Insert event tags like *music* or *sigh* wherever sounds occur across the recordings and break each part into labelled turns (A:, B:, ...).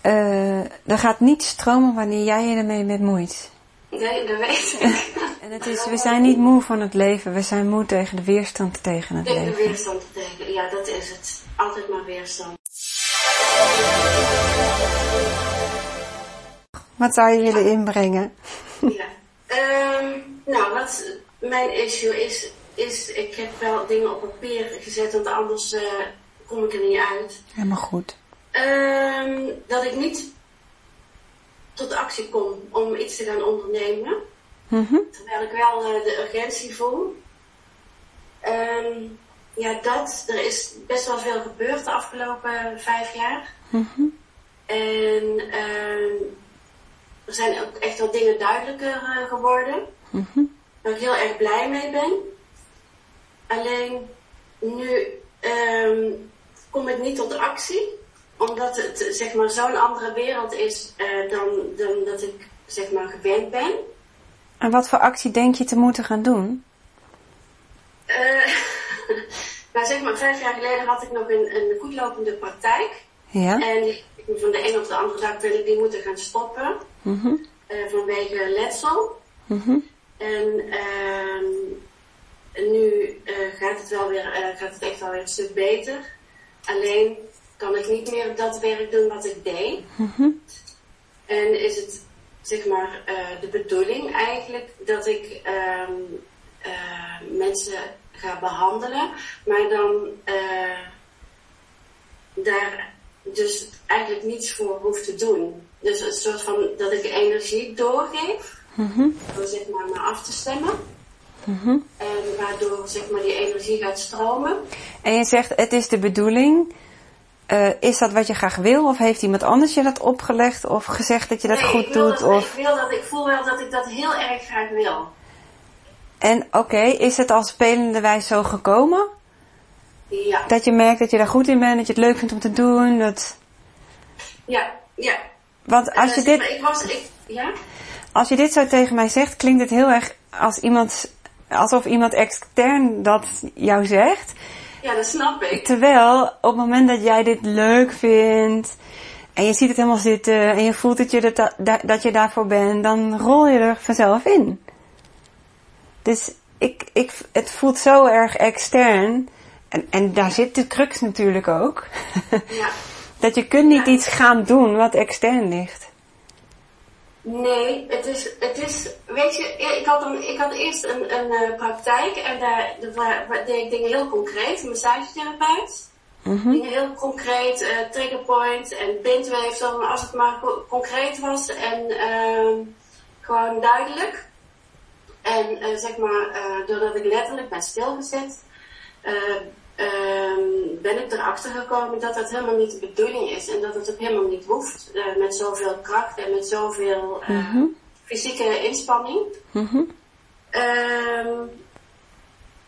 A: eh, er gaat niet stromen wanneer jij je ermee met moeit.
B: Nee, dat weet ik. *laughs*
A: En het is, we zijn niet moe van het leven, we zijn moe tegen de weerstand tegen het
B: Tegen de
A: leven.
B: weerstand te tegen. Ja, dat is het. Altijd maar weerstand.
A: Wat zou je willen inbrengen?
B: Ja. Ehm, nou, wat mijn issue is, is ik heb wel dingen op papier gezet, want anders eh, kom ik er niet uit.
A: Helemaal goed.
B: Ehm, dat ik niet tot actie kom om iets te gaan ondernemen.
A: Mhm.
B: Terwijl ik wel eh, de urgentie voel. Ehm, ja, dat. Er is best wel veel gebeurd de afgelopen vijf jaar. En ehm, er zijn ook echt wel dingen duidelijker eh, geworden. Waar ik heel erg blij mee ben. Alleen nu ehm, kom ik niet tot actie. Omdat het eh, zeg maar, zo'n andere wereld is eh, dan, dan dat ik zeg maar, gewend ben.
A: En wat voor actie denk je te moeten gaan doen?
B: Eh, *laughs* nou zeg maar, vijf jaar geleden had ik nog een, een goedlopende praktijk.
A: Ja?
B: En die- van de een op de andere dag ben ik die moeten gaan stoppen.
A: Mhm.
B: eh, vanwege letsel.
A: Mhm.
B: En ehm, nu eh, gaat, het wel weer, eh, gaat het echt wel weer een stuk beter. Alleen kan ik niet meer dat werk doen wat ik deed. En is het zeg maar eh, de bedoeling eigenlijk dat ik ehm, eh, mensen ga behandelen, maar dan eh, daar dus eigenlijk niets voor hoef te doen. Dus een soort van dat ik energie doorgeef door zeg maar me af te stemmen.
A: Mhm.
B: En waardoor zeg maar die energie gaat stromen.
A: En je zegt, het is de bedoeling. Eh, is dat wat je graag wil? Of heeft iemand anders je dat opgelegd? Of gezegd dat je dat
B: Nee,
A: goed
B: ik wil
A: doet?
B: dat-
A: of...
B: Ik, wil dat, ik voel wel dat ik dat heel erg graag wil.
A: En oké, is het al spelende wijs zo gekomen?
B: Ja.
A: Dat je merkt dat je daar goed in bent, dat je het leuk vindt om te doen. Dat...
B: Ja, ja.
A: Want als je,
B: Eh,
A: dit,
B: zeg maar, Ik was, ik, ja?
A: als je dit zo tegen mij zegt, klinkt het heel erg als iemand, alsof iemand extern dat jou zegt.
B: ja, dat snap ik.
A: Terwijl op het moment dat jij dit leuk vindt en je ziet het helemaal zitten en je voelt dat je, dat, da- dat je daarvoor bent, dan rol je er vanzelf in. Dus ik, ik, het voelt zo erg extern. En, en daar zit de crux natuurlijk ook. *laughs*
B: Ja.
A: dat je kunt niet iets gaan doen wat extern ligt.
B: Nee, het is, het is, weet je, e- ik had, een, ik had eerst een, een eh, praktijk en daar, daar wa- wa- deed ik dingen heel concreet, een massagetherapeut. Dingen heel concreet, eh, triggerpoint en bindweefsel, maar als het maar co- concreet was en ehm, gewoon duidelijk. En eh, zeg maar, eh, doordat ik letterlijk ben stilgezet, eh, ehm, ben ik erachter gekomen dat dat helemaal niet de bedoeling is. En dat het ook helemaal niet hoeft eh, met zoveel kracht en met zoveel eh, fysieke inspanning. Ehm,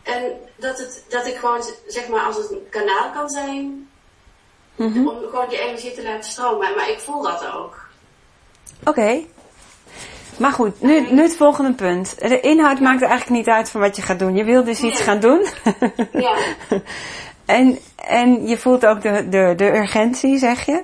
B: en dat, het, dat ik gewoon, zeg maar, als het een kanaal kan zijn, om gewoon die energie te laten stromen. Maar ik voel dat ook.
A: Oké. Maar goed, nu, nu het volgende punt. De inhoud maakt eigenlijk niet uit van wat je gaat doen. Je wil dus iets
B: Nee.
A: gaan doen.
B: Ja,
A: *laughs* En, en je voelt ook de, de, de urgentie, zeg je.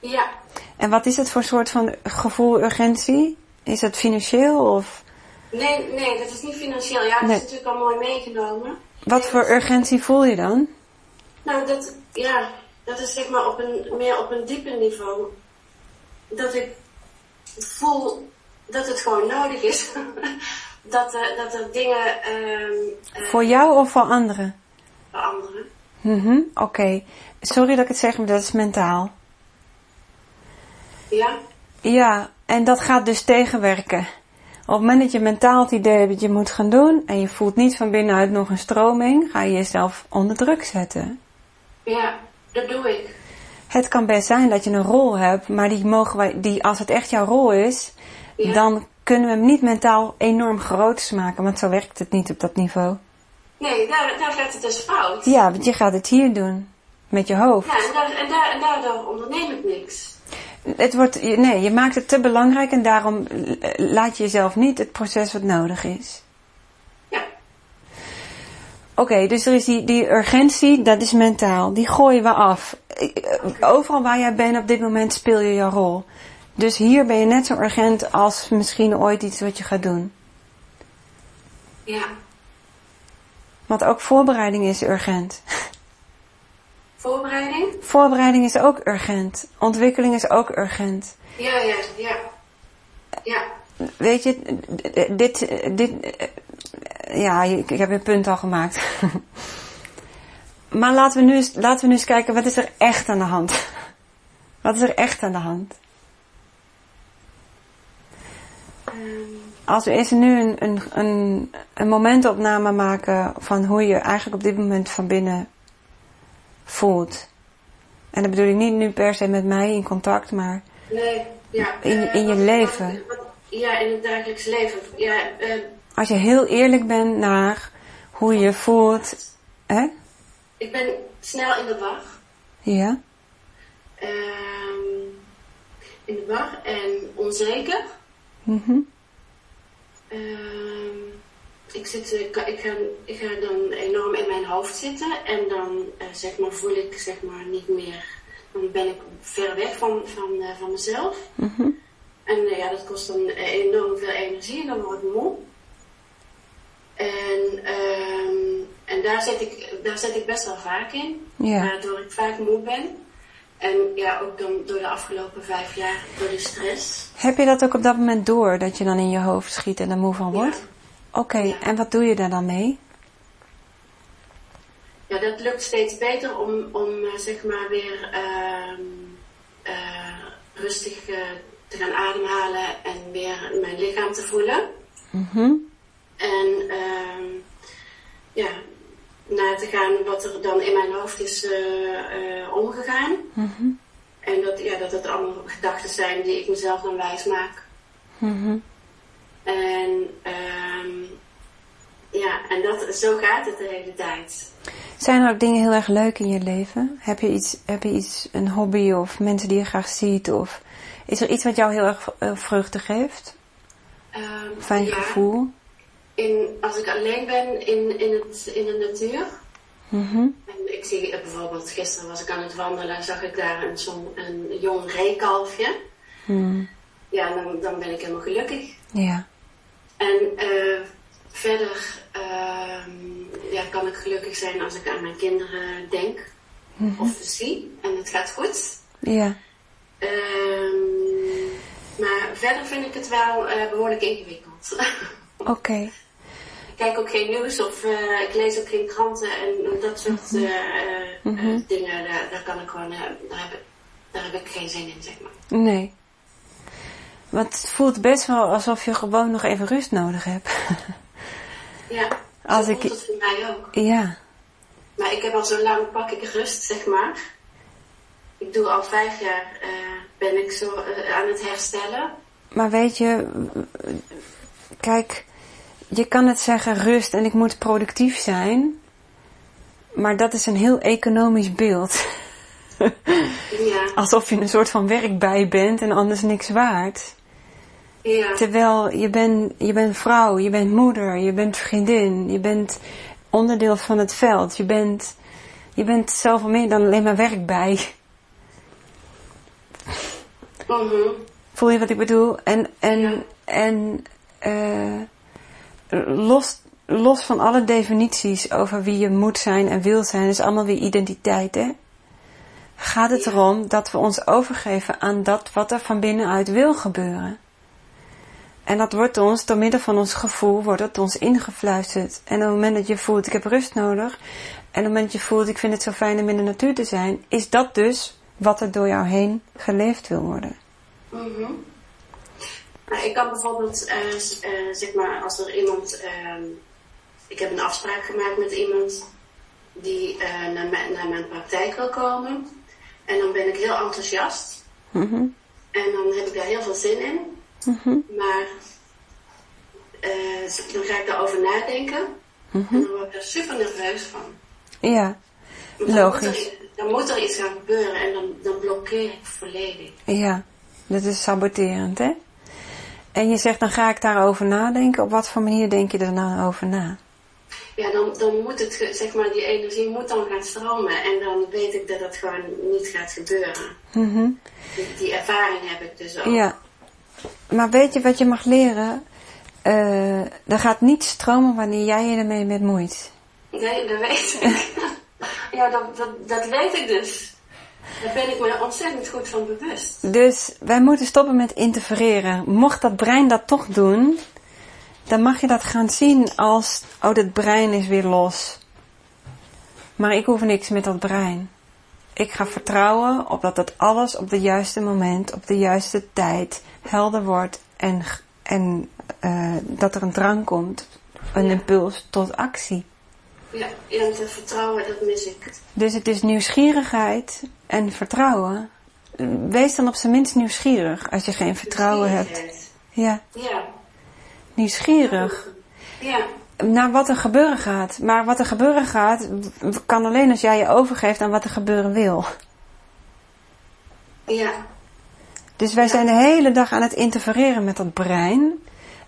B: ja.
A: En wat is het voor soort van gevoel urgentie? Is dat financieel of
B: Nee, nee, dat is niet financieel. Ja, dat
A: Nee.
B: is natuurlijk al mooi meegenomen.
A: wat voor urgentie voel je dan?
B: Nou, dat, ja, dat is zeg maar op een, meer op een dieper niveau. Dat ik voel dat het gewoon nodig is. *laughs* dat, eh, dat er dingen ehm eh,
A: Voor jou of voor anderen?
B: veranderen.
A: Mhm, Oké, sorry dat ik het zeg, maar dat is mentaal.
B: Ja,
A: Ja, en dat gaat dus tegenwerken. Op het moment dat je mentaal het idee hebt dat je moet gaan doen en je voelt niet van binnenuit nog een stroming, ga je jezelf onder druk zetten.
B: ja, dat doe ik.
A: Het kan best zijn dat je een rol hebt, maar die mogen wij, die, als het echt jouw rol is,
B: Ja.
A: dan kunnen we hem niet mentaal enorm groot maken, want zo werkt het niet op dat niveau.
B: Nee, daar, daar gaat het dus fout.
A: Ja, want je gaat het hier doen, met je hoofd.
B: Ja, en, daar, en, daar, en daardoor onderneem ik niks.
A: Het wordt, je- nee, je maakt het te belangrijk en daarom eh, laat je jezelf niet het proces wat nodig is.
B: Ja,
A: Oké, dus er is die, die urgentie, dat is mentaal. Die gooien we af. Ik- eh, Overal waar jij bent op dit moment speel je jouw rol. Dus hier ben je net zo urgent als misschien ooit iets wat je gaat doen.
B: Ja.
A: Want ook voorbereiding is urgent.
B: Voorbereiding?
A: Voorbereiding is ook urgent. Ontwikkeling is ook urgent.
B: Ja, ja, ja. Ja.
A: Weet je, dit, dit, ja, ik ik heb een punt al gemaakt. Maar laten we, nu eens, laten we nu eens kijken, wat is er echt aan de hand? Wat is er echt aan de hand?
B: Ehm,
A: Als we eerst nu een, een, een, een momentopname maken van hoe je eigenlijk op dit moment van binnen voelt. En dat bedoel ik niet nu per se met mij in contact, maar
B: nee, ja.
A: In-
B: eh,
A: in je
B: wat-
A: leven.
B: wat- ja, in het dagelijks leven. Ja, eh,
A: als je heel eerlijk bent naar hoe je voelt. Hè?
B: ik ben snel in de war.
A: Ja?
B: Ehm, in de war en onzeker.
A: Mhm.
B: Ehm, ik, zit, eh, ka- ik, ga, ik ga dan enorm in mijn hoofd zitten en dan eh, zeg maar, voel ik zeg maar, niet meer. Dan ben ik ver weg van, van, eh, van mezelf. En eh, ja, dat kost dan eh, enorm veel energie en dan word ik moe. En, ehm, en daar, zit ik, daar zit ik best wel vaak in,
A: Ja.
B: waardoor ik vaak moe ben. En ja, ook dan door de afgelopen vijf jaar, door de stress.
A: Heb je dat ook op dat moment door, dat je dan in je hoofd schiet en er moe van wordt?
B: Ja.
A: Oké, en wat doe je daar dan mee?
B: Ja, dat lukt steeds beter om, om eh, zeg maar weer ehm, eh, rustig eh, te gaan ademhalen en weer mijn lichaam te voelen.
A: Mhm.
B: En ehm, ja, na te gaan wat er dan in mijn hoofd is eh, eh, omgegaan.
A: Mhm.
B: En dat, ja, dat het allemaal gedachten zijn die ik mezelf dan wijs maak.
A: Mhm.
B: En ehm, ja, en dat, zo gaat het de hele tijd.
A: Zijn er ook dingen heel erg leuk in je leven? Heb je iets, heb je iets, een hobby of mensen die je graag ziet? Of is er iets wat jou heel erg eh, vreugde geeft?
B: Ehm,
A: Fijn
B: ja.
A: gevoel?
B: in, als ik alleen ben in, in, het, in de natuur.
A: Mhm.
B: En ik zie eh, bijvoorbeeld, gisteren was ik aan het wandelen, zag ik daar een, zo'n- een jong reekalfje.
A: Hmm.
B: Ja, dan, dan ben ik helemaal gelukkig.
A: Ja.
B: En eh, verder ehm, ja, kan ik gelukkig zijn als ik aan mijn kinderen denk of zie. En het gaat goed.
A: Ja.
B: Ehm, maar verder vind ik het wel eh, behoorlijk ingewikkeld. *laughs*
A: Oké.
B: Ik kijk ook geen nieuws of eh, ik lees ook geen kranten en dat soort
A: Mhm.
B: eh, eh, eh, dingen. Daar, daar kan ik gewoon, eh, daar, heb ik, daar heb ik geen zin in, zeg maar.
A: Nee. Want het voelt best wel alsof je gewoon nog even rust nodig hebt. *laughs*
B: Ja,
A: Als
B: zo
A: ik-
B: voelt het voor mij ook.
A: ja.
B: Maar ik heb al zo lang pak ik rust, zeg maar. Ik doe al vijf jaar, eh, ben ik zo eh, aan het herstellen.
A: Maar weet je, kijk, je kan het zeggen rust en ik moet productief zijn. Maar dat is een heel economisch beeld. *laughs*
B: Ja,
A: Alsof je een soort van werkbij bent en anders niks waard.
B: ja,
A: Terwijl je bent je bent vrouw, je bent moeder, je bent vriendin, je bent onderdeel van het veld. Je bent, je bent zoveel meer dan alleen maar werkbij.
B: mhm.
A: Voel je wat ik bedoel? En, en,
B: Ja.
A: en eh, los, los van alle definities over wie je moet zijn en wil zijn, is allemaal weer identiteit, hè? Gaat het
B: Ja.
A: erom dat we ons overgeven aan dat wat er van binnenuit wil gebeuren. En dat wordt ons, door middel van ons gevoel, wordt het ons ingefluisterd. En op het moment dat je voelt, ik heb rust nodig. En op het moment dat je voelt, ik vind het zo fijn om in de natuur te zijn. Is dat dus wat er door jou heen geleefd wil worden.
B: Mhm. Maar Nou, ik kan bijvoorbeeld, eh, s- eh, zeg maar, als er iemand, ehm, ik heb een afspraak gemaakt met iemand die eh, naar, mijn, naar mijn praktijk wil komen. En dan ben ik heel enthousiast.
A: Mhm.
B: En dan heb ik daar heel veel zin in.
A: Mhm.
B: Maar eh, dan ga ik daarover nadenken.
A: Mhm.
B: En dan word ik er super nerveus van.
A: Ja,
B: Want dan moet er
A: Logisch.
B: i- Dan moet er iets gaan gebeuren en dan, dan blokkeer ik volledig.
A: ja. Dat is saboterend, hè? En je zegt, dan ga ik daarover nadenken. Op wat voor manier denk je er nou over na?
B: ja, dan, dan moet het, ge- zeg maar, die energie moet dan gaan stromen. En dan weet ik dat dat gewoon niet gaat gebeuren.
A: Mhm.
B: Die, die ervaring heb ik dus ook.
A: Ja. Maar weet je wat je mag leren? Eh er gaat niet stromen wanneer jij je ermee met moeit.
B: Nee, dat weet ik. *laughs* ja, dat, dat, dat weet ik dus. Daar ben ik me ontzettend goed van bewust.
A: Dus wij moeten stoppen met interfereren. Mocht dat brein dat toch doen, dan mag je dat gaan zien als, oh, dat brein is weer los. Maar ik hoef niks met dat brein. Ik ga vertrouwen op dat dat alles op het juiste moment, op de juiste tijd helder wordt en, g- en eh, dat er een drang komt, een impuls tot actie.
B: Ja, ja, dat vertrouwen, dat mis ik.
A: Dus het is nieuwsgierigheid en vertrouwen. Wees dan op zijn minst nieuwsgierig als je geen vertrouwen hebt. Ja,
B: Ja.
A: nieuwsgierig
B: Ja.
A: naar wat er gebeuren gaat. Maar wat er gebeuren gaat, w- kan alleen als jij je overgeeft aan wat er gebeuren wil.
B: Ja.
A: Dus wij zijn de hele dag aan het interfereren met dat brein.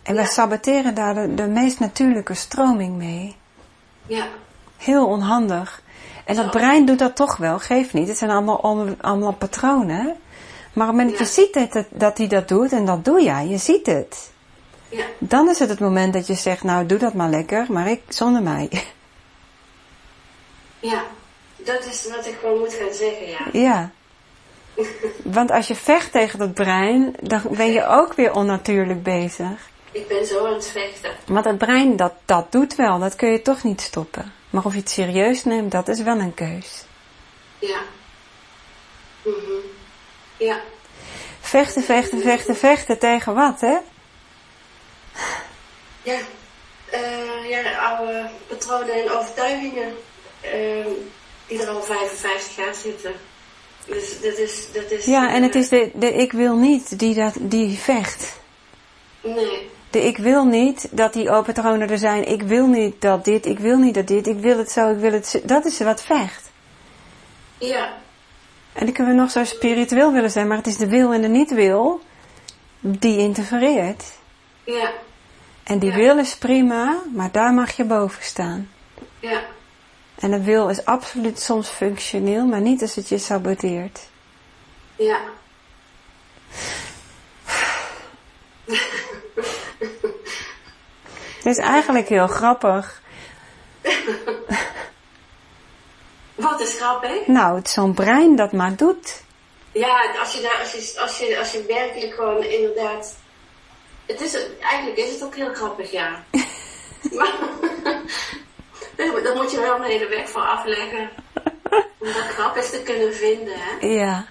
A: En wij
B: Ja.
A: saboteren daar de, de meest natuurlijke stroming mee.
B: Ja.
A: Heel onhandig. En dat brein doet dat toch wel, geeft niet. Het zijn allemaal, allemaal, allemaal patronen. hè. Maar op het moment dat je ziet dat- dat- dat hij dat doet, en dat doe jij, je ziet het.
B: Ja.
A: Dan is het het moment dat je zegt, nou doe dat maar lekker, maar ik zonder mij.
B: Ja. Dat is wat ik gewoon moet gaan zeggen, ja.
A: ja. Want als je vecht tegen dat brein, dan ben je ook weer onnatuurlijk bezig.
B: Ik ben zo aan het vechten.
A: Maar dat brein, dat, dat doet wel, dat kun je toch niet stoppen. Maar of je het serieus neemt, dat is wel een keus.
B: Ja. Mhm. Ja.
A: Vechten, vechten, vechten, vechten tegen wat, hè?
B: Ja. Eh, ja, oude patronen en overtuigingen eh, die er al 55 jaar zitten. Dus dat is... Dat is eh,
A: Ja, en het is de, de ik wil niet die, dat, die vecht.
B: Nee.
A: De ik wil niet dat die open patronen er zijn. Ik wil niet dat dit, ik wil niet dat dit, ik wil het zo, ik wil het zo. Dat is wat vecht.
B: Ja.
A: En dan kunnen we nog zo spiritueel willen zijn, maar het is de wil en de niet-wil die interfereert.
B: Ja.
A: En die
B: Ja.
A: wil is prima, maar daar mag je boven staan.
B: Ja.
A: En de wil is absoluut soms functioneel, maar niet als het je saboteert.
B: Ja.
A: Dit is eigenlijk heel grappig.
B: Wat is grappig.
A: Nou, het is zo'n brein dat maar doet.
B: Ja, als je, daar, als, je, als, je, als je werkelijk gewoon inderdaad... Het is, eigenlijk is het ook heel grappig,
A: *laughs*
B: ja. maar *laughs* daar daar moet je wel een hele weg voor afleggen. Om dat grappig te kunnen vinden, hè.
A: Ja,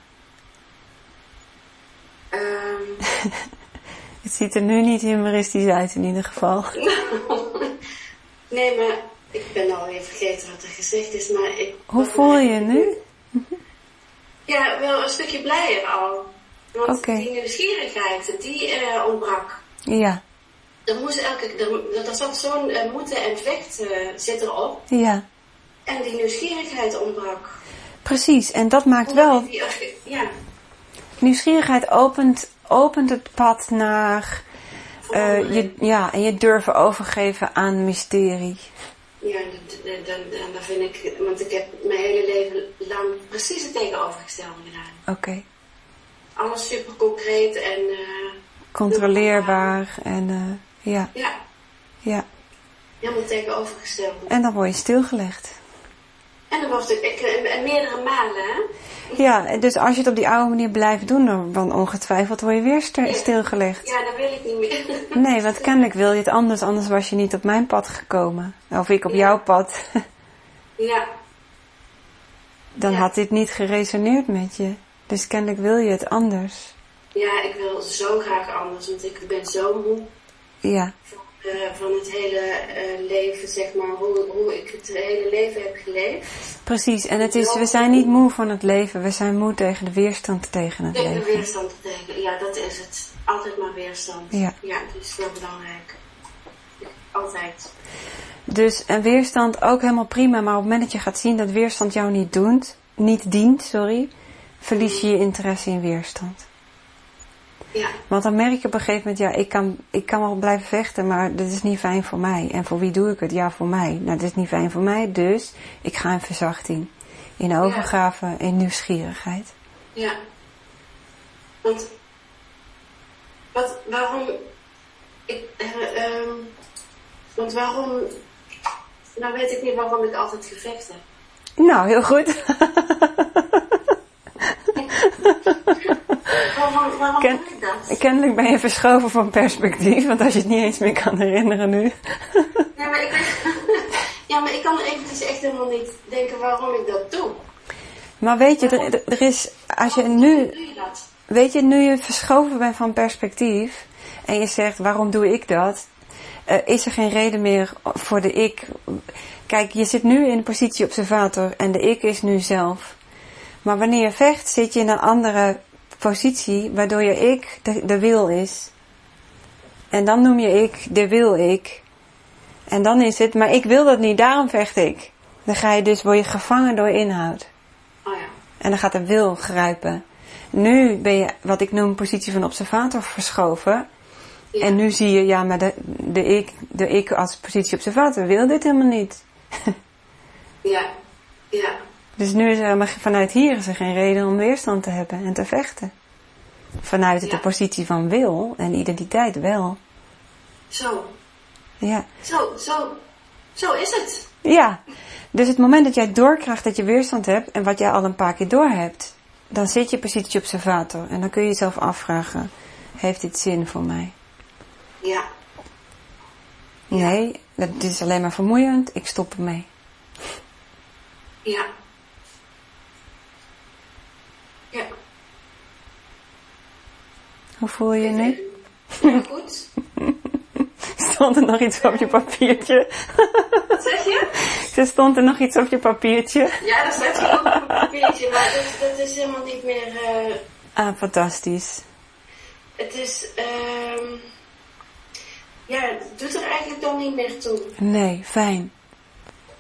B: Ehm,
A: het ziet er nu niet humoristisch uit in ieder geval.
B: nee, maar ik ben alweer vergeten wat er gezegd is, maar ik...
A: Hoe voel je je nu?
B: *laughs* Ja, wel een stukje blijer al. Want
A: Oké.
B: die nieuwsgierigheid, die eh, ontbrak.
A: Ja,
B: Er moest elke, er, er zat zo'n eh, moeten en vechten zit erop.
A: ja,
B: En die nieuwsgierigheid ontbrak.
A: precies. En dat maakt
B: Omdat
A: wel
B: je die ook- ja,
A: Nieuwsgierigheid opent, opent het pad naar eh, je, ja, en je durven overgeven aan mysterie.
B: ja dat- eh, dat- dat- en dat vind ik, want ik heb mijn hele leven lang precies het tegenovergestelde gedaan.
A: Oké,
B: Alles super concreet en eh,
A: controleerbaar en eh, ja,
B: ja,
A: ja.
B: helemaal tegenovergesteld.
A: En dan word je stilgelegd.
B: En dan wordt het, ik, en, en meerdere malen, hè?
A: Ja, en dus als je het op die oude manier blijft doen, dan, dan ongetwijfeld word je weer ster- stilgelegd.
B: Ja, dat wil ik niet meer. *laughs*
A: Nee, want kennelijk wil je het anders, anders was je niet op mijn pad gekomen. Of ik op
B: Ja.
A: jouw pad. *laughs*
B: ja,
A: Dan
B: Ja.
A: had dit niet geresoneerd met je. Dus kennelijk wil je het anders.
B: ja, ik wil zo graag anders, want ik ben zo moe.
A: Ja,
B: eh, van het hele eh, leven, zeg maar, hoe, hoe ik het hele leven heb geleefd.
A: Precies, en het is, we zijn niet moe van het leven, we zijn moe tegen de weerstand tegen het
B: Tegen de
A: leven.
B: weerstand tegen. Ja, dat is het. Altijd maar weerstand.
A: Ja.
B: dat is heel belangrijk. Altijd.
A: Dus en weerstand ook helemaal prima, maar op het moment dat je gaat zien dat weerstand jou niet, doet, niet dient, sorry, verlies je je interesse in weerstand.
B: Ja.
A: Want dan merk je op een gegeven moment, ja, ik kan, ik kan wel blijven vechten, maar dit is niet fijn voor mij. En voor wie doe ik het? Ja, voor mij. Nou, dit is niet fijn voor mij, dus ik ga in verzachting. In overgave, in nieuwsgierigheid.
B: Ja. Want wat, waarom. Ik, eh, ehm, want waarom. Nou weet ik niet waarom ik altijd
A: *laughs*
B: gevecht heb.
A: Nou, heel goed.
B: Waarom, waarom
A: Ken-
B: doe ik dat?
A: Kennelijk ben je verschoven van perspectief, want als je het niet eens meer kan herinneren nu.
B: Ja, maar ik, *laughs* ja, maar ik kan eventjes echt helemaal niet denken waarom ik dat doe.
A: Maar weet je, er, er- er is, als je nu
B: Doe je dat?
A: Weet je, nu je verschoven bent van perspectief en je zegt waarom doe ik dat, eh, is er geen reden meer voor de ik. Kijk, je zit nu in de positie observator en de ik is nu zelf. Maar wanneer je vecht, zit je in een andere positie waardoor je ik de, de wil is. En dan noem je ik de wil ik. En dan is het, maar ik wil dat niet, daarom vecht ik. Dan ga je dus, word je gevangen door inhoud.
B: Oh ja.
A: En dan gaat de wil grijpen. Nu ben je wat ik noem positie van observator verschoven.
B: Ja.
A: En nu zie je, ja, maar de, de, ik, de ik als positie observator wil dit helemaal niet.
B: Ja. Ja.
A: Dus nu is er, maar vanuit hier is er geen reden om weerstand te hebben en te vechten. Vanuit de
B: Ja.
A: positie van wil en identiteit wel.
B: Zo.
A: Ja.
B: Zo, zo. Zo is het.
A: ja. Dus het moment dat jij doorkrijgt dat je weerstand hebt en wat jij al een paar keer doorhebt, dan zit je positie observator en dan kun je jezelf afvragen, heeft dit zin voor mij?
B: Ja.
A: Nee, dat, dit is alleen maar vermoeiend. Ik stop ermee.
B: Ja. Ja.
A: Hoe voel je je nu? *laughs*
B: Ja, goed.
A: Stond er nog iets op je papiertje? *laughs*
B: Wat zeg je?
A: Ze stond er nog iets op je papiertje?
B: Ja, dat staat gewoon op een papiertje, maar dat, dat is helemaal niet meer... eh,
A: Ah, fantastisch.
B: het is... ehm ja, het doet er eigenlijk dan niet meer toe.
A: Nee, fijn.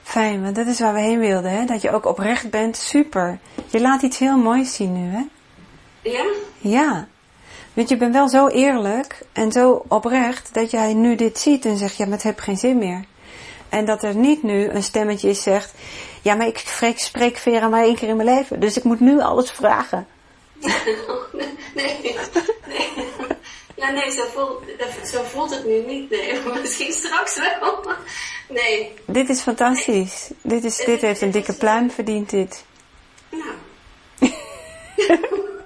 A: Fijn, want dat is waar we heen wilden, hè? Dat je ook oprecht bent. Super. Je laat iets heel moois zien nu, hè?
B: Ja? *laughs*
A: Ja. Want je bent wel zo eerlijk en zo oprecht dat jij nu dit ziet en zegt, ja, maar het heb geen zin meer. En dat er niet nu een stemmetje is zegt, ja, maar ik spreek, spreek Vera maar één keer in mijn leven, dus ik moet nu alles vragen.
B: Nee, nee. Ja, nee, zo voelt, dat- zo voelt het nu niet. Nee, *laughs* misschien straks wel. Nee.
A: Dit is fantastisch. Dit, is, dit heeft een dikke pluim verdiend, dit.
B: Nou. *laughs*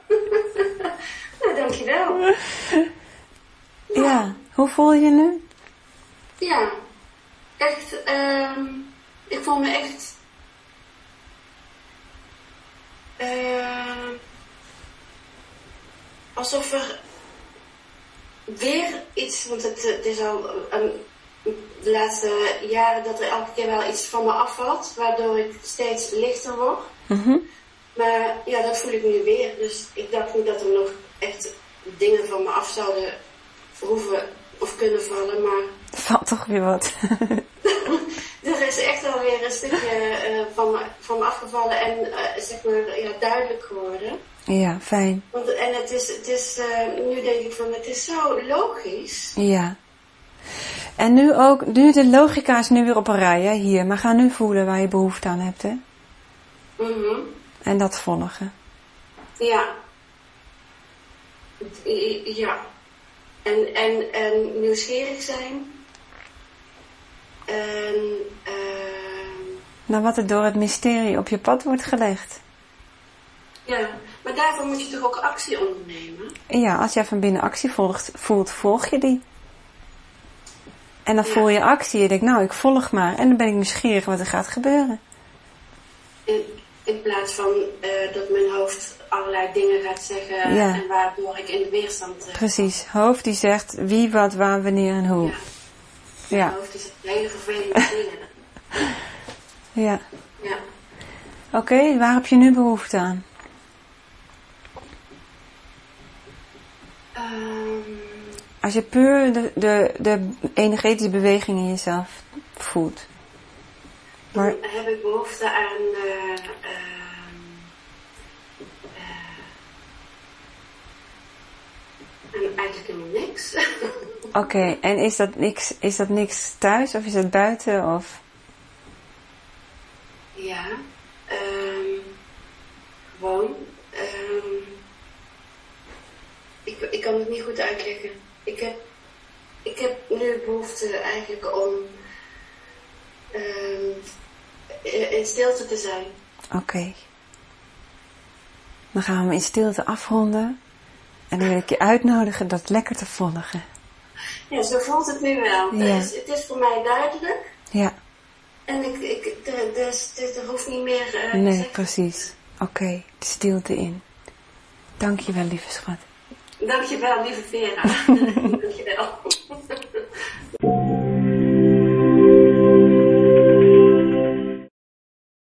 B: nou, dankjewel.
A: Ja, hoe voel je je nu?
B: Ja. Echt, ehm ik voel me echt... ehm alsof er weer iets, want het, het is al ehm, de laatste jaren dat er elke keer wel iets van me afvalt, waardoor ik steeds lichter word. Maar ja, dat voel ik nu weer. Dus ik dacht niet dat er nog echt dingen van me af zouden hoeven of kunnen vallen, maar
A: Valt toch weer wat. *laughs*
B: *laughs* er is echt alweer een stukje eh, van, me, van me afgevallen en eh, zeg maar ja, duidelijk geworden.
A: ja, fijn.
B: Want, en het is, het is eh, nu denk ik van, het is zo logisch.
A: Ja. En nu ook, nu de logica is nu weer op een rij, hè, hier. Maar ga nu voelen waar je behoefte aan hebt, hè.
B: Mhm.
A: En dat volgen.
B: Ja. I- i- Ja. En, en, en nieuwsgierig zijn. En, ehm,
A: Naar wat er door het mysterie op je pad wordt gelegd.
B: ja, maar daarvoor moet je toch ook actie ondernemen?
A: En ja, als jij van binnen actie volgt, voelt, volg je die. En dan
B: Ja.
A: voel je actie. Je denkt, nou, ik volg maar. En dan ben ik nieuwsgierig wat er gaat gebeuren.
B: In, in plaats van eh, dat mijn hoofd allerlei dingen gaat zeggen
A: Ja.
B: en waardoor ik in de weerstand eh, terecht.
A: Precies. Hoofd die zegt wie, wat, waar, wanneer en hoe.
B: Ja.
A: Ja.
B: Mijn hoofd is
A: *laughs*
B: hele vervelende dingen.
A: Ja.
B: Ja.
A: Oké, waar heb je nu behoefte aan?
B: Ehm,
A: Als je puur de, de, de energetische beweging in jezelf voelt. Maar,
B: dan heb ik behoefte aan eh, ehm, eh, En eigenlijk helemaal niks. *laughs*
A: Oké, en is dat, niks, is dat niks thuis of is dat buiten? Of...
B: ja. ehm, gewoon. ehm, ik, ik kan het niet goed uitleggen. Ik heb, ik heb nu behoefte eigenlijk om ehm, in- in stilte te zijn.
A: Oké. Dan gaan we hem in stilte afronden. En dan wil ik je uitnodigen dat lekker te volgen.
B: Ja, zo voelt het nu wel.
A: Ja.
B: Het, is, Dus het is voor mij duidelijk.
A: Ja,
B: En ik, ik, er, dus, dus er hoeft niet meer eh,
A: nee,
B: gezegd-
A: precies. Oké, de stilte in. Dankjewel, lieve schat. *laughs*
B: Dankjewel, *laughs* lieve Vera. Dankjewel.